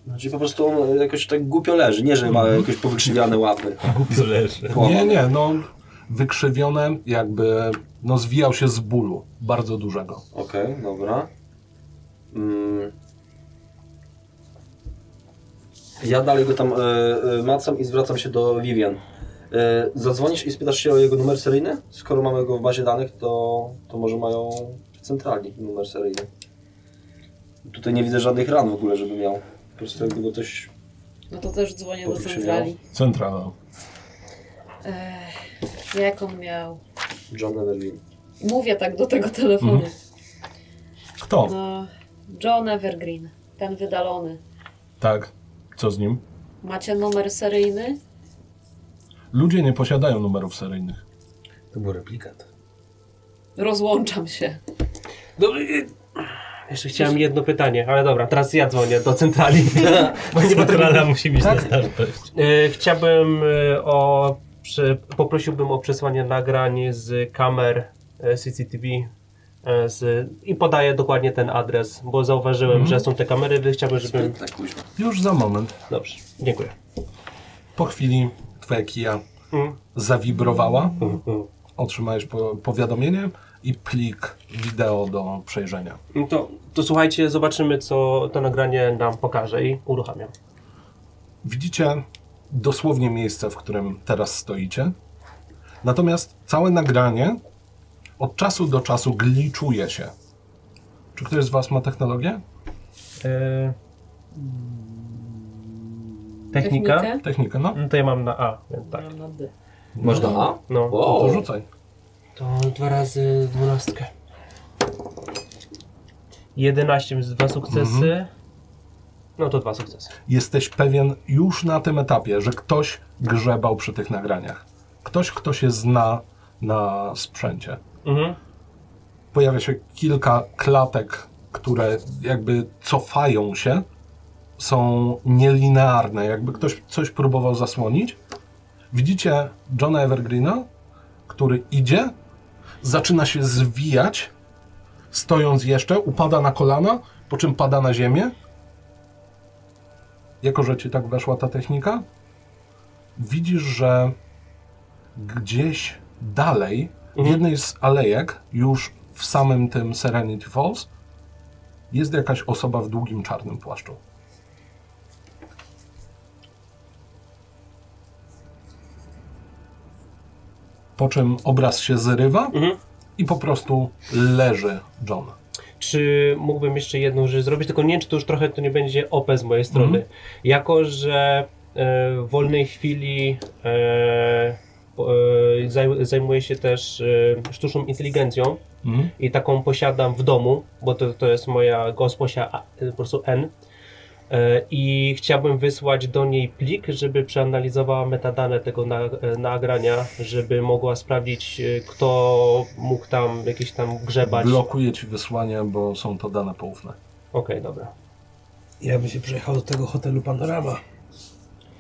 B: Znaczy po prostu on jakoś tak głupio leży, nie, że ma jakieś powykrzywiane łapy.
F: głupio leży.
D: Tak?
A: Nie,
B: Połamane.
A: nie, no wykrzywione, jakby no zwijał się z bólu, bardzo dużego.
B: Okej, dobra. Mm. Ja dalej go tam e, e, macam i zwracam się do Vivian. E, zadzwonisz i spytasz się o jego numer seryjny? Skoro mamy go w bazie danych, to, to może mają w centrali numer seryjny. Tutaj nie widzę żadnych ran w ogóle, żeby miał. Po prostu jakby go coś...
E: No to też dzwonię do
B: Powiem się,
E: centrali.
A: Centralną.
E: Ech, jak on miał?
B: John Evergreen.
E: Mówię tak do tego telefonu.
C: Mhm.
A: Kto?
E: No, John Evergreen, ten wydalony.
A: Tak. Co z nim?
E: Macie numer seryjny?
A: Ludzie nie posiadają numerów seryjnych.
D: To był replikant.
E: Rozłączam się.
C: Dobry. y, Jeszcze chciałem jedno pytanie, ale dobra, teraz ja dzwonię do centrali. Bo nie potrafię-
F: Centrala musi mieć tak? dostępność.
C: E, Chciałbym e, o. Prze, poprosiłbym o przesłanie nagrań z kamer e, CCTV e, z, i podaję dokładnie ten adres, bo zauważyłem, że są te kamery, więc chciałbym, żebym.
B: Tak, kuźwa.
A: Już za moment.
C: Dobrze, dziękuję.
A: Po chwili twoja kija
C: Mm.
A: zawibrowała,
C: Mm.
A: otrzymałeś po powiadomienie i plik wideo do przejrzenia.
C: No To, to słuchajcie, zobaczymy, co to nagranie nam pokaże i uruchamiam.
A: Widzicie dosłownie miejsce, w którym teraz stoicie. Natomiast całe nagranie od czasu do czasu gliczuje się. Czy ktoś z Was ma technologię?
C: E, Technika?
E: Technikę?
A: Technikę, no.
C: No to ja mam na A, więc tak.
E: Mam na D.
B: Można A?
C: No.
A: No To
B: Wow.
A: rzucaj.
C: To dwa razy dwunastkę. 11 z dwa sukcesy. Mhm. No to dwa sukcesy.
A: Jesteś pewien już na tym etapie, że ktoś grzebał przy tych nagraniach. Ktoś, kto się zna na sprzęcie.
C: Mhm.
A: pojawia się kilka klatek, które jakby cofają się, są nielinearne, jakby ktoś coś próbował zasłonić. Widzicie Johna Evergreena, który idzie, zaczyna się zwijać, stojąc jeszcze, upada na kolana, po czym pada na ziemię. Jako, że ci tak weszła ta technika, widzisz, że gdzieś dalej, w jednej z alejek, już w samym tym Serenity Falls, jest jakaś osoba w długim czarnym płaszczu. Po czym obraz się zrywa
C: Mhm.
A: i po prostu leży John.
C: Czy mógłbym jeszcze jedną rzecz zrobić, tylko nie wiem, czy to już trochę to nie będzie OP z mojej strony. Jako, że e, w wolnej chwili e, po- e, zaj- zajmuję się też e, sztuczną inteligencją
A: Mhm.
C: i taką posiadam w domu, bo to, to jest moja gosposia a- e, po prostu N. E, I chciałbym wysłać do niej plik, żeby przeanalizowała metadane tego na, e, nagrania, żeby mogła sprawdzić, e, kto mógł tam jakieś tam grzebać.
A: Blokuje ci wysłanie, bo są to dane poufne.
C: Okej, dobra.
D: Ja bym się przejechał do tego hotelu Panorama.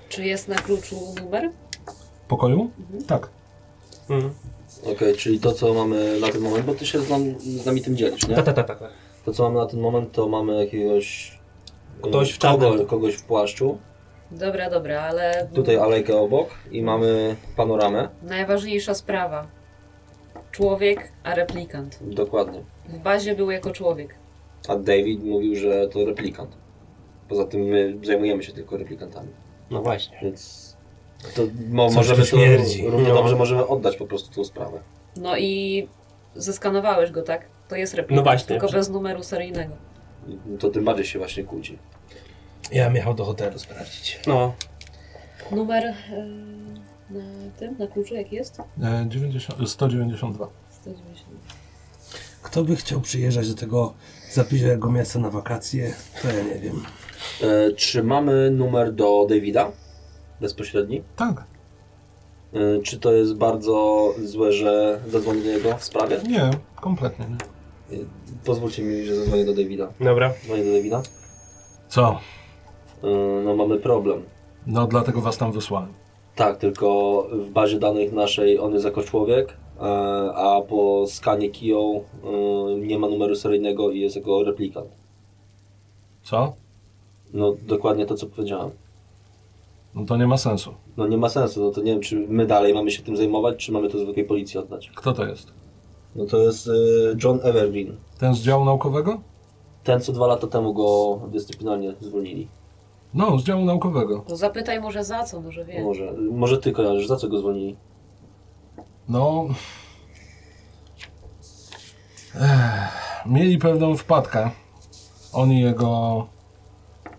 E: Czy jest na kluczu numer?
A: Pokoju? Tak.
C: Mhm.
B: Okej, czyli to co mamy na ten moment, bo ty się z nami, z nami tym dzielisz, nie?
C: Tak, tak, tak, tak. tak.
B: To co mamy na ten moment, to mamy jakiegoś...
C: Ktoś w
B: kogo,
C: czarnym.
B: Kogoś w płaszczu.
E: Dobra, dobra, ale
B: Tutaj alejkę obok i mamy panoramę.
E: najważniejsza sprawa. Człowiek, a replikant.
B: Dokładnie.
E: W bazie był jako człowiek.
B: A David mówił, że to replikant. Poza tym my zajmujemy się tylko replikantami.
C: No właśnie.
B: Więc to mo-
D: Coś
B: możemy
D: tu
B: to
D: śmierdzi.
B: równie
C: No.
B: dobrze możemy oddać po prostu tą sprawę.
E: No i zeskanowałeś go, tak? To jest replikant,
C: No właśnie.
E: tylko bez numeru seryjnego.
B: To tym bardziej się właśnie kłóci.
D: Ja bym jechał do hotelu sprawdzić.
C: No,
E: Numer e, na tym, na kluczu jaki jest?
A: E, 90, 192.
E: 190.
D: Kto by chciał przyjeżdżać do tego zapisionego miasta na wakacje, to ja nie wiem.
B: E, czy mamy numer do Davida? Bezpośredni?
A: Tak.
B: E, czy to jest bardzo złe, że zadzwonię do niego w sprawie?
A: Nie, kompletnie nie.
B: E, pozwólcie mi, że zadzwonię do Davida.
C: dobra.
B: Dzwonię do Davida.
A: Co?
B: E, no mamy problem.
A: No dlatego was tam wysłałem.
B: Tak, tylko w bazie danych naszej on jest jako człowiek, e, a po skanie kiją e, nie ma numeru seryjnego i jest jako replikant.
A: Co?
B: No dokładnie to, co powiedziałem.
A: No to nie ma sensu.
B: No nie ma sensu, no to nie wiem, czy my dalej mamy się tym zajmować, czy mamy to zwykłej policji oddać.
A: Kto to jest?
B: No to jest e, John Evergreen.
A: Ten z działu naukowego?
B: Ten, co dwa lata temu go dyscyplinarnie zwolnili.
A: No, z działu naukowego.
E: To zapytaj może za co, może wie.
B: Może, może ty kojarzysz, za co go zwolnili?
A: No. Ech, mieli pewną wpadkę. On i jego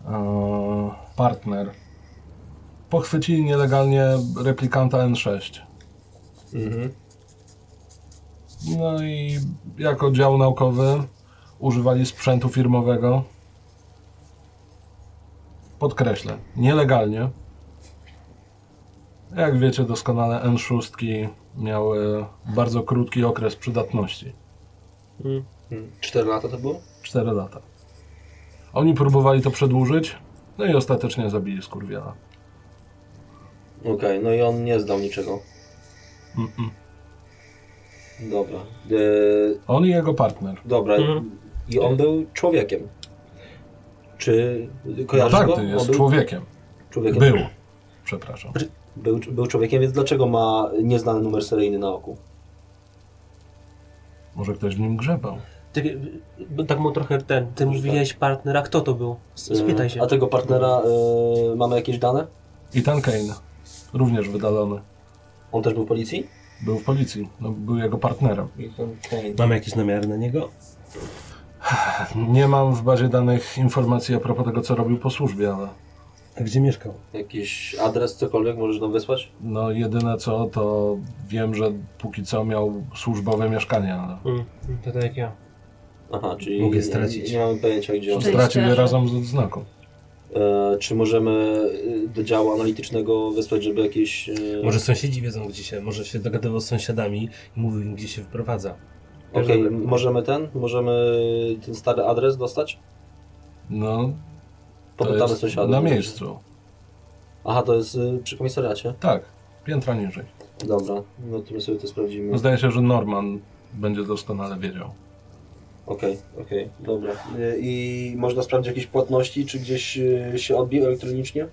A: e, partner pochwycili nielegalnie replikanta N6.
B: Mhm.
A: No i jako dział naukowy używali sprzętu firmowego. Podkreślę, nielegalnie. Jak wiecie doskonale, N6 miały bardzo krótki okres przydatności.
B: Cztery lata to było?
A: 4 lata. Oni próbowali to przedłużyć, no i ostatecznie zabili skurwiela.
B: Okej, no i on nie zdał niczego.
A: Mm-mm.
B: Dobra. E,
A: On i jego partner.
B: dobra,
C: Mhm.
B: i on był człowiekiem. Czy
A: No
B: kojarzysz
A: tak,
B: go?
A: ty
B: On
A: jest
B: był
A: człowiekiem.
B: człowiekiem.
A: Był. Przepraszam.
B: był. Był człowiekiem, więc dlaczego ma nieznany numer seryjny na oku?
A: Może ktoś w nim grzebał.
C: Ty, bo tak mu trochę ten, ty mówiłeś partnera, kto to był? S- Spytaj się.
B: A tego partnera e, mamy jakieś dane?
A: I ten Kane, również wydalony.
B: On też był w policji?
A: Był w policji, no, był jego partnerem.
F: Mamy jakieś namiary na niego?
A: Nie mam w bazie danych informacji a propos tego, co robił po służbie, ale
F: A gdzie mieszkał?
B: Jakiś adres, cokolwiek możesz nam wysłać?
A: no jedyne co, to wiem, że póki co miał służbowe mieszkanie, ale
C: Mm, mm, to tak jak ja.
B: Aha, czyli
F: Mogę
B: nie-
F: stracić.
B: Nie, nie mamy pojęcia gdzie on
E: Szczęście.
B: jest.
A: stracił je
E: że-
A: razem z odznaką.
B: E, czy możemy e, do działu analitycznego wysłać, żeby jakieś... e,
D: Może sąsiedzi wiedzą gdzie się, może się dogadywał z sąsiadami i mówił im gdzie się wprowadza.
B: Okej, możemy ten, możemy ten stary adres dostać?
A: No, to
B: Popytamy
A: jest
B: sąsiadów.
A: na miejscu.
B: Aha, to jest y, przy komisariacie?
A: Tak, piętra niżej.
B: Dobra, no to my sobie to sprawdzimy.
A: No,
B: Okej,
A: zdaje się, że Norman będzie doskonale wiedział.
B: okej, dobra. Y, I można sprawdzić jakieś płatności, czy gdzieś y, się odbił elektronicznie?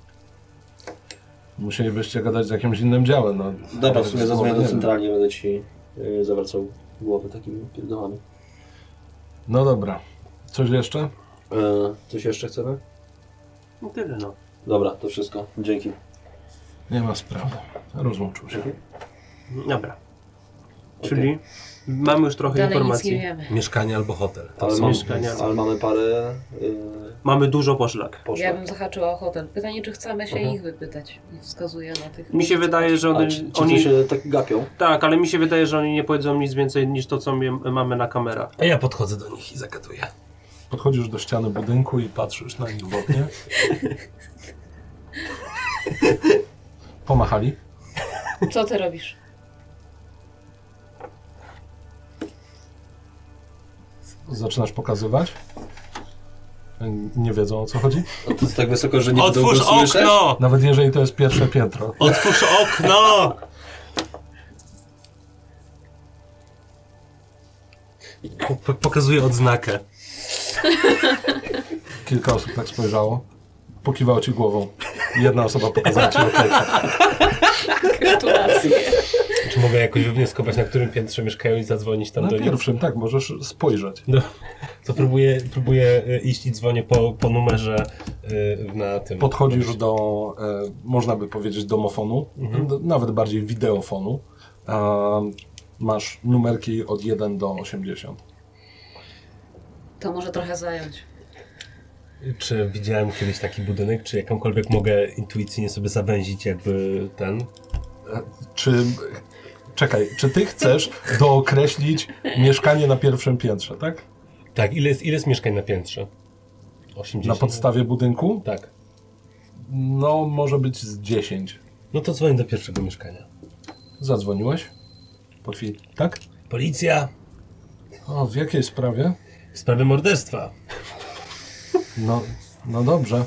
A: Musielibyście gadać z jakimś innym działem. No,
B: Dobra, w sumie zadzwonię do
A: Nie wiem.
B: centralnie, będę ci y, zawracał głowę takimi pierdolami.
A: No dobra. Coś jeszcze?
B: E, coś jeszcze chcemy?
C: No tyle no.
B: Dobra, to wszystko. Dzięki.
A: Nie ma sprawy. Rozłączył się.
C: Dobra. Czyli mamy już trochę
E: Dalej nic nie
C: informacji.
E: wiemy.
D: Mieszkanie albo hotel.
B: Ale,
C: z
B: mam,
C: mieszkania.
B: ale mamy parę y,
C: Mamy dużo poszlak.
B: poszlak.
E: Ja bym zahaczyła o hotel. Pytanie, czy chcemy się ich wypytać. I wskazuje na tych...
C: Mhm. Mi się wydaje, że
B: A,
C: one,
B: ci, ci
C: oni...
B: co się tak gapią?
C: Tak, ale mi się wydaje, że oni nie powiedzą nic więcej niż to, co my, mamy na kamerach.
D: A ja podchodzę do nich i zagaduję.
A: Podchodzisz do ściany budynku i patrzysz na nich wodnie. Pomachali.
E: Co ty robisz?
A: Zaczynasz pokazywać. Nie wiedzą o co chodzi.
B: No to jest tak wysoko, że nie
D: Otwórz okno!
A: Nawet jeżeli to jest pierwsze piętro.
D: Otwórz okno! Po- Pokazuję odznakę.
A: Kilka osób tak spojrzało. Pokiwało ci głową. Jedna osoba pokazała ci okejkę.
E: Gratulacje.
D: Czy mogę jakoś wywnioskować, na którym piętrze mieszkają i zadzwonić tam
A: Na
D: do nich?
A: pierwszym, tak, możesz spojrzeć.
D: No, to próbuję, próbuję y, iść i dzwonię po, po numerze y, na tym.
A: Podchodzisz do, e, można by powiedzieć, domofonu, d- nawet bardziej wideofonu. E, masz numerki od 1 do 80.
E: To może trochę zająć.
D: Czy widziałem kiedyś taki budynek, czy jakąkolwiek mogę intuicyjnie sobie zawęzić jakby ten?
A: Czy, czekaj, czy ty chcesz dookreślić mieszkanie na pierwszym piętrze, tak?
D: Tak, ile jest, ile jest mieszkań na piętrze? 80?
A: Na podstawie budynku?
D: Tak.
A: No, może być z 10.
D: No to dzwonię do pierwszego mieszkania.
A: Zadzwoniłeś? Po chwili, tak?
D: Policja!
A: O, w jakiej sprawie?
D: w Sprawie morderstwa.
A: No, no dobrze.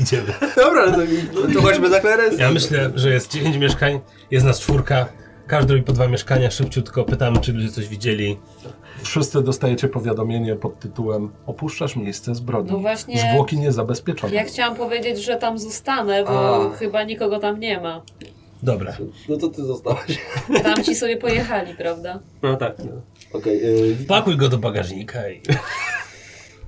D: Idziemy.
B: Dobra, to, to chodźmy za klerens.
D: Ja myślę, że jest 10 mieszkań, jest nas czwórka. Każdy robi po dwa mieszkania, szybciutko pytamy, czy ludzie coś widzieli.
A: Wszyscy dostajecie powiadomienie pod tytułem Opuszczasz miejsce zbrodni.
E: No właśnie-
A: Zwłoki niezabezpieczone.
E: Ja chciałam powiedzieć, że tam zostanę, bo
B: A.
E: chyba nikogo tam nie ma.
D: Dobra.
B: No to ty zostałeś.
E: Tam ci sobie pojechali, prawda?
C: No tak. No.
B: Okej, y,
D: Pakuj go do bagażnika i...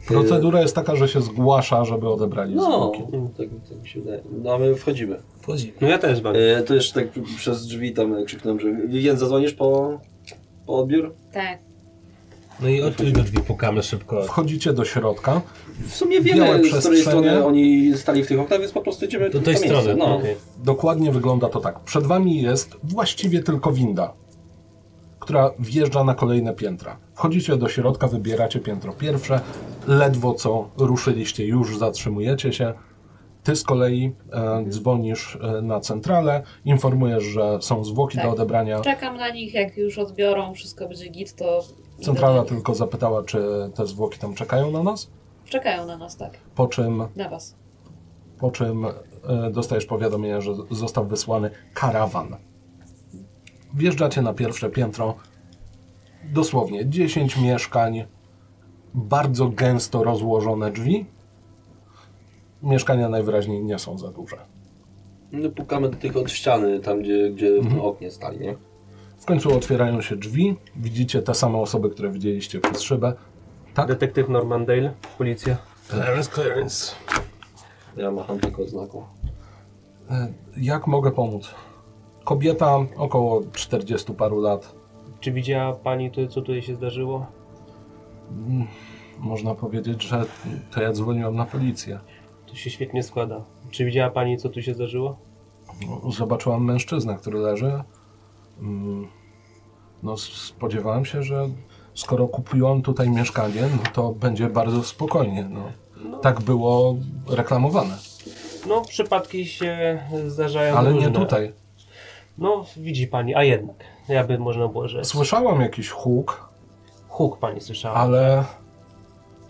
A: Procedura jest taka, że się zgłasza, żeby odebrali
B: no,
A: zwłoki.
B: tak, tak mi się wydaje. No a my wchodzimy.
D: Wchodzimy.
C: no ja też mam.
B: Y, to jeszcze tak przez drzwi tam krzyknąłem, że Vivien, zadzwonisz po, po odbiór?
E: Tak.
D: No i odkryj do drzwi, pukamy szybko.
A: Wchodzicie do środka.
B: W sumie
A: Białe
B: wiemy, z której
A: przestrzenie.
B: strony oni stali w tych oknach, więc po prostu idziemy
D: Do tej
B: to miejsce,
D: strony.
B: No.
D: okej.
A: Dokładnie wygląda to tak. Przed wami jest właściwie tylko winda, która wjeżdża na kolejne piętra. Wchodzicie do środka, wybieracie piętro pierwsze. Ledwo co ruszyliście, już zatrzymujecie się. Ty z kolei e, dzwonisz e, na centralę, informujesz, że są zwłoki
E: Tak.
A: do odebrania.
E: Czekam na nich, jak już odbiorą, wszystko będzie git, to... idę
A: Centrala
E: do nich.
A: tylko zapytała, czy te zwłoki tam czekają na nas,
E: Czekają na nas, tak.
A: po czym,
E: Na was.
A: po czym e, dostajesz powiadomienie, że został wysłany karawan. Wjeżdżacie na pierwsze piętro, dosłownie 10 mieszkań, bardzo gęsto rozłożone drzwi. Mieszkania najwyraźniej nie są za duże.
B: No pukamy do tych od ściany, tam gdzie, gdzie w
D: Mhm.
B: tym oknie stali, nie?
A: W końcu otwierają się drzwi, widzicie te same osoby, które widzieliście przez szybę. Tak?
C: Detektyw Normandale, policja.
D: Clarence, Clarence.
B: Ja macham tylko znaku.
A: E, Jak mogę pomóc? Kobieta około 40 paru lat,
C: Czy widziała pani to, co tutaj się zdarzyło?
A: Można powiedzieć, że to ja dzwoniłam na policję.
C: To się świetnie składa. Czy widziała pani, co tu się zdarzyło?
A: No, Zobaczyłam mężczyznę, który leży. Mm, No, spodziewałem się, że skoro kupiłam tutaj mieszkanie, no to będzie bardzo spokojnie. No. Tak było reklamowane,
C: No, przypadki się zdarzają
A: ale nie
C: różne.
A: tutaj.
C: No, widzi pani, a jednak. Ja by można było rzec.
A: Słyszałam jakiś huk,
C: Huk pani słyszała.
A: ale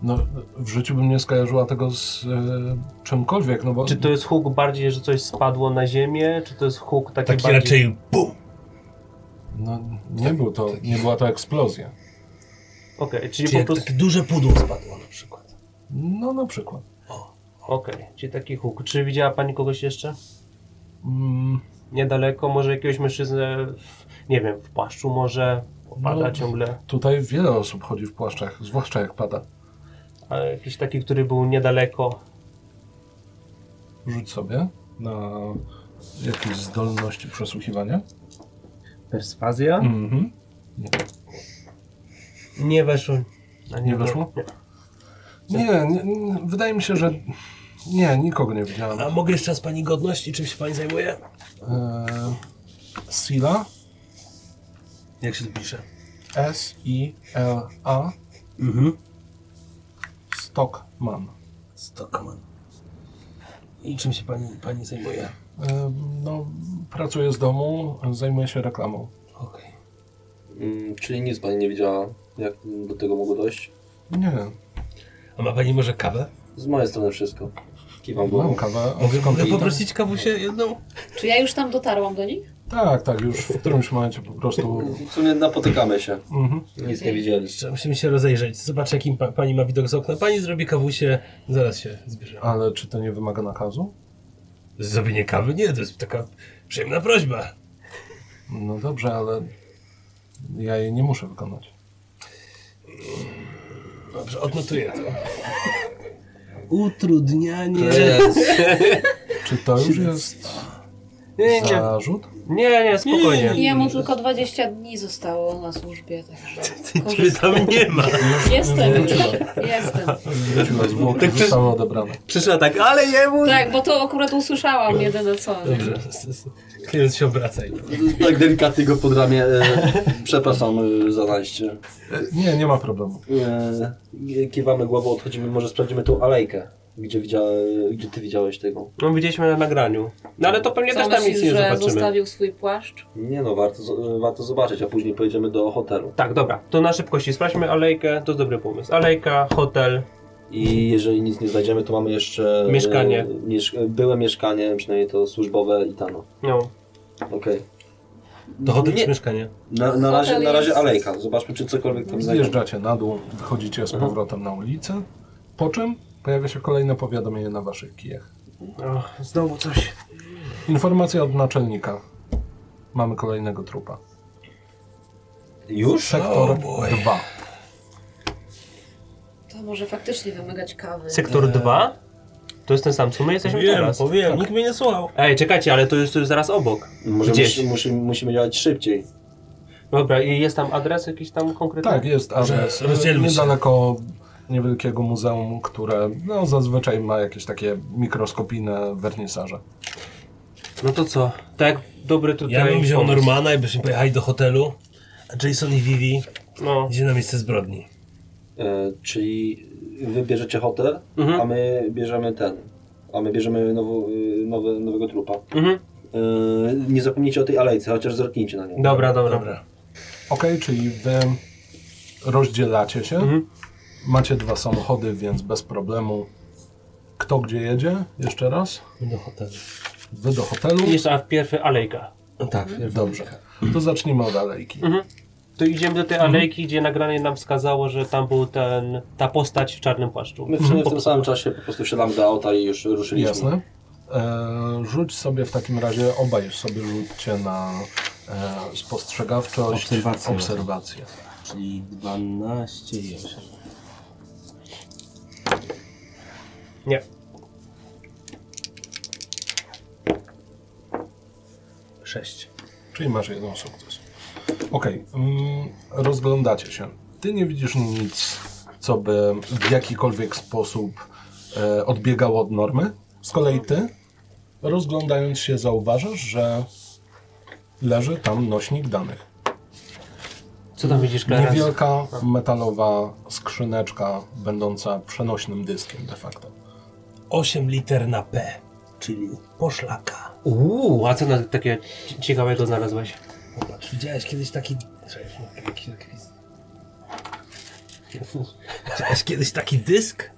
A: no, w życiu bym nie skojarzyła tego z e, czymkolwiek, no bo
C: Czy to jest huk bardziej, że coś spadło na ziemię? Czy to jest huk taki,
D: Taki
C: bardziej...
D: raczej bum!
A: no,
C: Tak.
A: nie, był to, nie była to eksplozja.
C: Okej, czyli
D: Czy
C: po
D: jak
C: prostu...
D: takie duże pudło spadło na przykład.
A: No na przykład.
C: Okej, czyli taki huk. Czy widziała pani kogoś jeszcze?
A: Mm,
C: Niedaleko, może jakiegoś mężczyznę, w, nie wiem, w płaszczu może? Opada
A: No.
C: ciągle.
A: tutaj wiele osób chodzi w płaszczach, zwłaszcza jak pada.
C: A jakiś taki, który był niedaleko.
A: Rzuć sobie na jakieś zdolności przesłuchiwania.
C: Perswazja?
A: Mhm.
C: Nie weszło. A
A: Nie weszło? Nie, nie, nie, wydaje mi się, że nie, nikogo nie widziałem.
D: A mogę jeszcze raz pani godność i czym się pani zajmuje?
A: Eee, Sila,
D: Jak się to pisze?
A: S-I-L-A,
F: Mhm.
A: Stockman.
D: Stockman. I czym się pani, pani zajmuje?
A: Eee, no, pracuję z domu, zajmuję się reklamą.
D: Okej.
B: Mm, czyli nic pani nie wiedziała, jak do tego mogło dojść.
A: Nie,
D: A ma pani może kawę?
B: Z mojej strony wszystko. Kiwam głową.
A: mam kawę. a
D: Mogę,
A: skąd
D: mogę
A: to-
D: poprosić kawusię jedną?
E: Czy ja już tam dotarłam do nich?
A: Tak, tak, już w którymś momencie po prostu...
B: W sumie napotykamy się.
A: Mhm.
B: Nic nie widzieli.
D: Jeszcze musimy się rozejrzeć. Zobaczę, jakim pa, pani ma widok z okna. Pani zrobi kawusię, zaraz się zbierzemy.
A: Ale czy to nie wymaga nakazu?
D: Zrobienie kawy? Nie, to jest taka przyjemna prośba.
A: No dobrze, ale ja jej nie muszę wykonać.
D: Dobrze, odnotuję to.
F: Utrudnianie.
A: Czy to już jest
C: Nie, nie,
A: zarzut?
C: nie, nie spokojnie.
E: Jemu tylko 20 dni zostało na służbie, także
D: Ciebie tam nie ma.
E: jestem już, jestem.
D: Tak,
A: Wróciła zwłoki, zostały odebrane.
C: Przyszła tak, ale jemu...
E: Tak, bo to akurat usłyszałam jedyne co. nie?
D: Dobrze, s- s- klient się obraca i
B: Tak delikatnie go pod ramię. E, przepraszam e, za najście.
A: Nie, nie ma problemu.
D: Tak.
B: E, kiwamy głową, odchodzimy, może sprawdzimy tą alejkę. Gdzie, widzia, gdzie ty widziałeś tego?
C: No widzieliśmy na nagraniu. No ale to pewnie
E: Co
C: też tam nic
E: myślisz,
C: nie
E: że
C: zobaczymy.
E: zostawił swój płaszcz?
B: Nie no, warto, z- warto zobaczyć, a później pojedziemy do hotelu.
C: Tak, dobra, to na szybkości sprawdźmy alejkę, to jest dobry pomysł. Alejka, hotel,
B: I jeżeli nic nie znajdziemy, to mamy jeszcze... e,
C: Mieszkanie.
B: miesz, byłe mieszkanie, przynajmniej to służbowe i tano.
C: no.
B: Okej.
D: dochodzę
B: Nie.
D: z mieszkania.
B: Na, na, razie,
E: Hotel
B: na razie
E: jest-
B: alejka. Zobaczmy, czy cokolwiek tam znajdziemy.
A: Zjeżdżacie na dół, wychodzicie z powrotem na ulicę, po czym pojawia się kolejne powiadomienie na waszych kijach.
C: Ach, znowu coś.
A: Informacja od naczelnika. Mamy kolejnego trupa.
B: Już?
A: Sektor
D: Oh boy.
A: 2.
E: To może faktycznie wymagać kawy.
C: Sektor 2? To jest ten sam, co my jesteśmy teraz.
D: powiem, nikt mnie nie słuchał.
C: Ej, czekajcie, ale to jest, to jest zaraz obok.
B: Może
C: Gdzieś.
B: musi, musi, musimy działać szybciej.
C: Dobra, i jest tam adres jakiś tam konkretny?
A: Tak, jest adres.
D: Że rozdzielmy się.
A: Niedaleko niewielkiego muzeum, które no, zazwyczaj ma jakieś takie mikroskopijne wernisaże.
C: No to co? Tak, dobry tutaj.
D: Ja bym wziął
C: pomysł.
D: Normana i byśmy pojechali do hotelu, a Jason i Vivi
C: No.
D: idzie na miejsce zbrodni.
B: E, czyli wy bierzecie hotel,
C: Mhm.
B: a my bierzemy ten. A my bierzemy nowo, y, nowe, nowego trupa.
C: Mhm.
B: E, nie zapomnijcie o tej alejce, chociaż zerknijcie na nią.
C: Dobra, dobra.
D: Dobra.
A: Ok, czyli wy rozdzielacie się. Macie dwa samochody, więc bez problemu. Kto gdzie jedzie? Jeszcze raz.
D: Do hotelu.
A: Wy do hotelu.
C: I Jeszcze a pierwszy alejka.
D: No tak,
G: Mhm.
A: Dobrze. To zacznijmy od alejki.
C: To idziemy do tej alejki, gdzie nagranie nam wskazało, że tam był ten, ta postać w czarnym płaszczu.
B: My w, sumie w tym samym czasie po prostu wsiadamy do auta i już ruszyliśmy.
A: Jasne. E, rzuć sobie w takim razie, obaj sobie rzućcie na e, spostrzegawczość,
F: Obserwację.
A: obserwację.
F: Czyli 12 i 8.
C: Nie.
D: 6.
A: Czyli masz jeden sukces. Okej, mm, rozglądacie się. Ty nie widzisz nic, co by w jakikolwiek sposób e, odbiegało od normy. Z kolei ty, rozglądając się, zauważasz, że leży tam nośnik danych.
C: Co tam widzisz, Klara?
A: Niewielka metalowa skrzyneczka, będąca przenośnym dyskiem de facto.
D: 8 liter na P, czyli poszlaka.
C: Uuu, a co na takie ci- ciekawego znalazłeś?
D: Zobacz, widziałeś kiedyś taki... Czekaj, jaki- jaki- Widziałeś kiedyś taki dysk?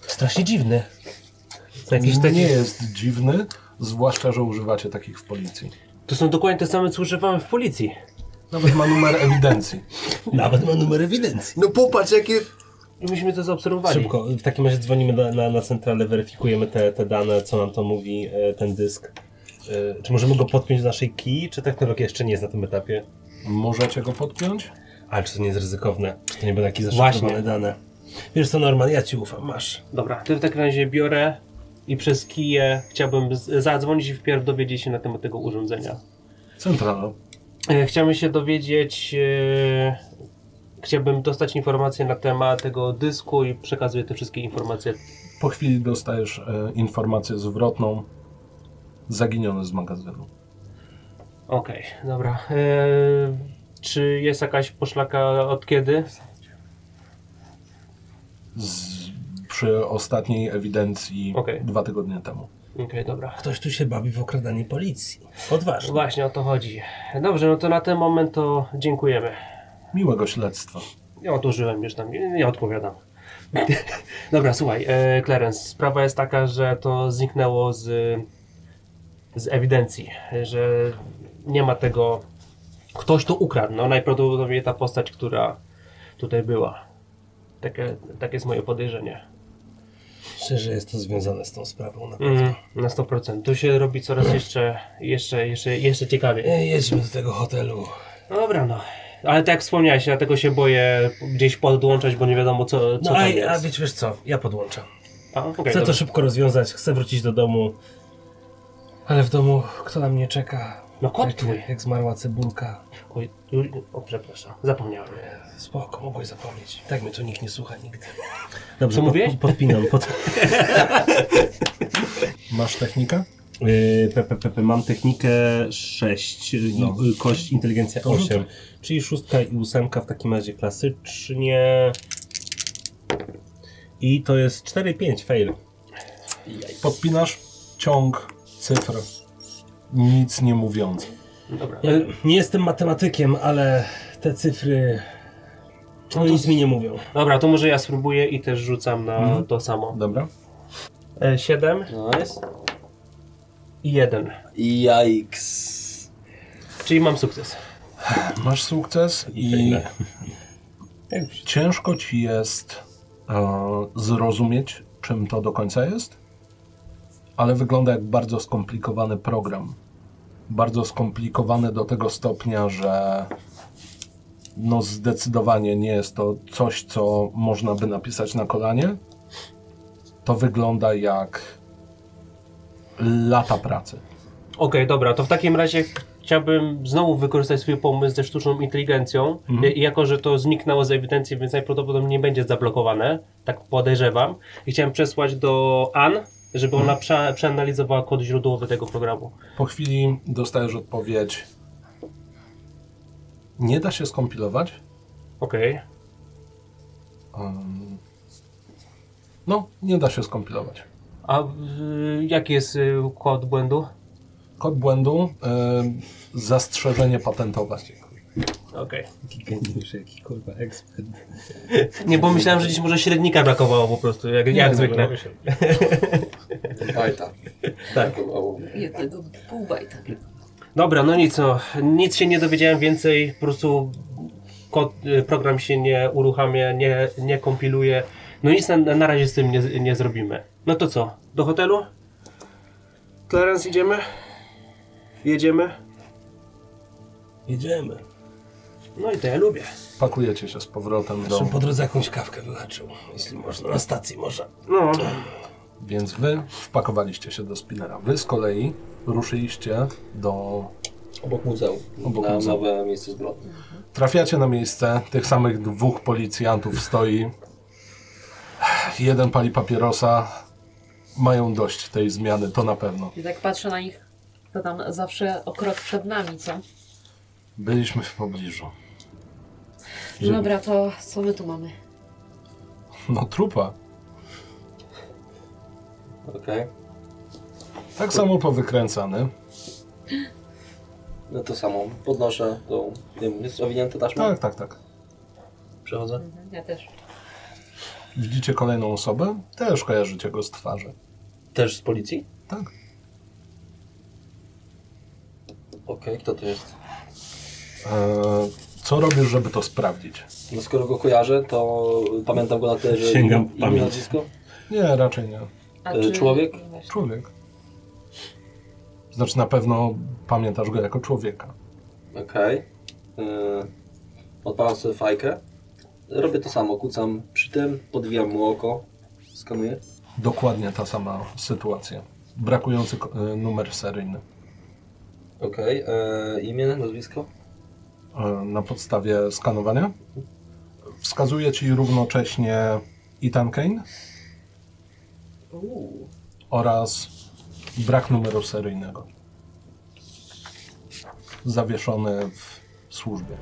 C: Strasznie dziwny. To, jakieś
A: Nie
C: takie,
A: jest dziwny, zwłaszcza, że używacie takich w policji.
C: to są dokładnie te same, co używamy w policji.
A: Nawet ma numer ewidencji.
D: Nawet ma numer ewidencji.
G: No popatrz, jakie...
C: I myśmy to zaobserwowali.
F: Szybko, w takim razie dzwonimy na, na, na centralę, weryfikujemy te, te dane, co nam to mówi e, ten dysk. E, Czy możemy go podpiąć do naszej kij, czy technologia jeszcze nie jest na tym etapie?
A: Możecie go podpiąć?
F: Ale czy to nie jest ryzykowne? Czy to nie będą jakieś
C: Właśnie.
F: zaszyfrowane dane?
D: Wiesz co, Norman, ja ci ufam, masz.
C: Dobra, to w takim razie biorę i przez kije chciałbym z- zadzwonić i wpierw dowiedzieć się na temat tego urządzenia.
A: Centralną.
C: E, Chciałbym się dowiedzieć, e, chciałbym dostać informacje na temat tego dysku i przekazuję te wszystkie informacje.
A: Po chwili dostajesz e, informację zwrotną. Zaginiony z magazynu.
C: Okej, dobra. E, czy jest jakaś poszlaka od kiedy?
A: Z, przy ostatniej ewidencji
C: Okej.
A: dwa tygodnie temu.
C: Okej, dobra.
D: Ktoś tu się bawi w okradanie policji. Odważnie.
C: Właśnie o to chodzi. Dobrze, no to na ten moment to dziękujemy.
A: Miłego śledztwa.
C: Ja odłożyłem już tam, nie, nie odpowiadam. Dobra, słuchaj, e, Clarence, sprawa jest taka, że to zniknęło z, z ewidencji, że nie ma tego, ktoś to ukradł, no najprawdopodobniej ta postać, która tutaj była. Takie, takie jest moje podejrzenie.
D: Szczerze jest to związane z tą sprawą. No.
C: Mm, na 100%. Tu się robi coraz jeszcze, jeszcze, jeszcze, jeszcze ciekawiej.
D: E, Jedźmy do tego hotelu.
C: Dobra, no. Ale tak jak wspomniałeś, ja tego się boję gdzieś podłączać, bo nie wiadomo co, co
D: No a,
C: tam
D: a
C: jest.
D: wiesz, wiesz co, ja podłączam.
C: A, okej,
F: Chcę
C: dobra.
F: to szybko rozwiązać, chcę wrócić do domu.
D: Ale w domu kto na mnie czeka?
C: No kot
D: Jak,
C: twój.
D: jak zmarła cebulka.
C: Oj, już- O, przepraszam, zapomniałem.
D: Spoko, mogłeś zapomnieć. Tak mnie tu nikt nie słucha nigdy.
F: Dobrze,
C: Co
F: pod-
C: mówiłeś?
F: podpinam. Pod...
A: Masz technikę?
F: Yy, pe, pe, pe, pe, mam technikę 6, no. Mhm. kość inteligencja 8, czyli szóstka i ósemka w takim razie klasycznie. I to jest 4-5 fail.
A: Podpinasz ciąg cyfr, nic nie mówiąc.
C: Dobra.
F: Ja Y, nie jestem matematykiem, ale te cyfry no, nic mi nie mówią.
C: Dobra, to może ja spróbuję i też rzucam na
D: Mhm.
C: to samo.
A: Dobra?
C: 7
B: Nice.
C: i 1.
B: Yikes.
C: Czyli mam sukces.
A: Masz sukces i ciężko ci jest e, zrozumieć, czym to do końca jest, ale wygląda jak bardzo skomplikowany program. Bardzo skomplikowany do tego stopnia, że no zdecydowanie nie jest to coś, co można by napisać na kolanie. To wygląda jak lata pracy.
C: Okej, dobra, to w takim razie chciałbym znowu wykorzystać swój pomysł ze sztuczną inteligencją. I- Jako, że to zniknęło z ewidencji, więc najprawdopodobniej nie będzie zablokowane, tak podejrzewam. I chciałem przesłać do An, żeby ona prze przeanalizowała kod źródłowy tego programu.
A: Po chwili dostajesz odpowiedź. Nie da się skompilować.
C: Okej.
A: Ym, No, nie da się skompilować.
C: A y, jaki jest y, kod błędu?
A: Kod błędu, ym, zastrzeżenie patentowe.
C: Okej.
F: Geniusz, jaki kurwa ekspert.
C: Nie, bo myślałem, że gdzieś może średnika brakowało po prostu, jak, jak zwykle.
G: Bajta. Tak. O,
E: Jednego pół bajta.
C: Dobra, no nic, no, nic się nie dowiedziałem więcej, po prostu kod, y, program się nie uruchamia, nie, nie kompiluje. No nic na, na razie z tym nie, nie zrobimy. No to co, do hotelu? Clarence, idziemy? Jedziemy?
D: Jedziemy.
C: No i to ja lubię.
A: Pakujecie się z powrotem do...
D: Zresztą po drodze jakąś kawkę wyhaczył. Jeśli można, na stacji może.
C: No,
A: Więc wy wpakowaliście się do spinera. Wy z kolei ruszyliście do...
B: Obok muzeum.
A: Obok
B: na
A: muzeum.
B: nowe miejsce zbrodni.
A: Trafiacie na miejsce, tych samych dwóch policjantów stoi. Jeden pali papierosa. Mają dość tej zmiany, to na pewno.
E: I tak patrzę na nich, to tam zawsze o krok przed nami, co?
A: Byliśmy w pobliżu.
F: Żeby-
E: Dobra, to co my tu mamy?
A: No trupa.
B: Okej.
A: Tak samo powykręcany.
B: No to samo. Podnoszę tą. Tym. Jest owinięty taśmą.
A: Tak, tak, tak.
B: Przechodzę.
E: Ja też.
A: Widzicie kolejną osobę? Też kojarzycie go z twarzy.
B: Też z policji?
A: Tak.
B: Okej, kto to jest?
A: Eee, co robisz, żeby to sprawdzić?
B: No skoro go kojarzę, to pamiętam go na tyle, że
F: Sięgam w
B: imię,
F: pamięć.
B: nazwisko.
A: Nie, raczej nie.
E: A
B: E, człowiek?
E: no właśnie.
A: Człowiek. Znaczy na pewno pamiętasz go jako człowieka.
B: Okej. Yy, Odpalam sobie fajkę. Robię to samo, kucam przy tym, podwijam mu oko, skanuję.
A: Dokładnie ta sama sytuacja. Brakujący ko- e, numer seryjny.
B: Okej, e, imię, nazwisko?
A: E, na podstawie skanowania. Wskazuje ci równocześnie Ethan Kane oraz brak numeru seryjnego. Zawieszony w służbie.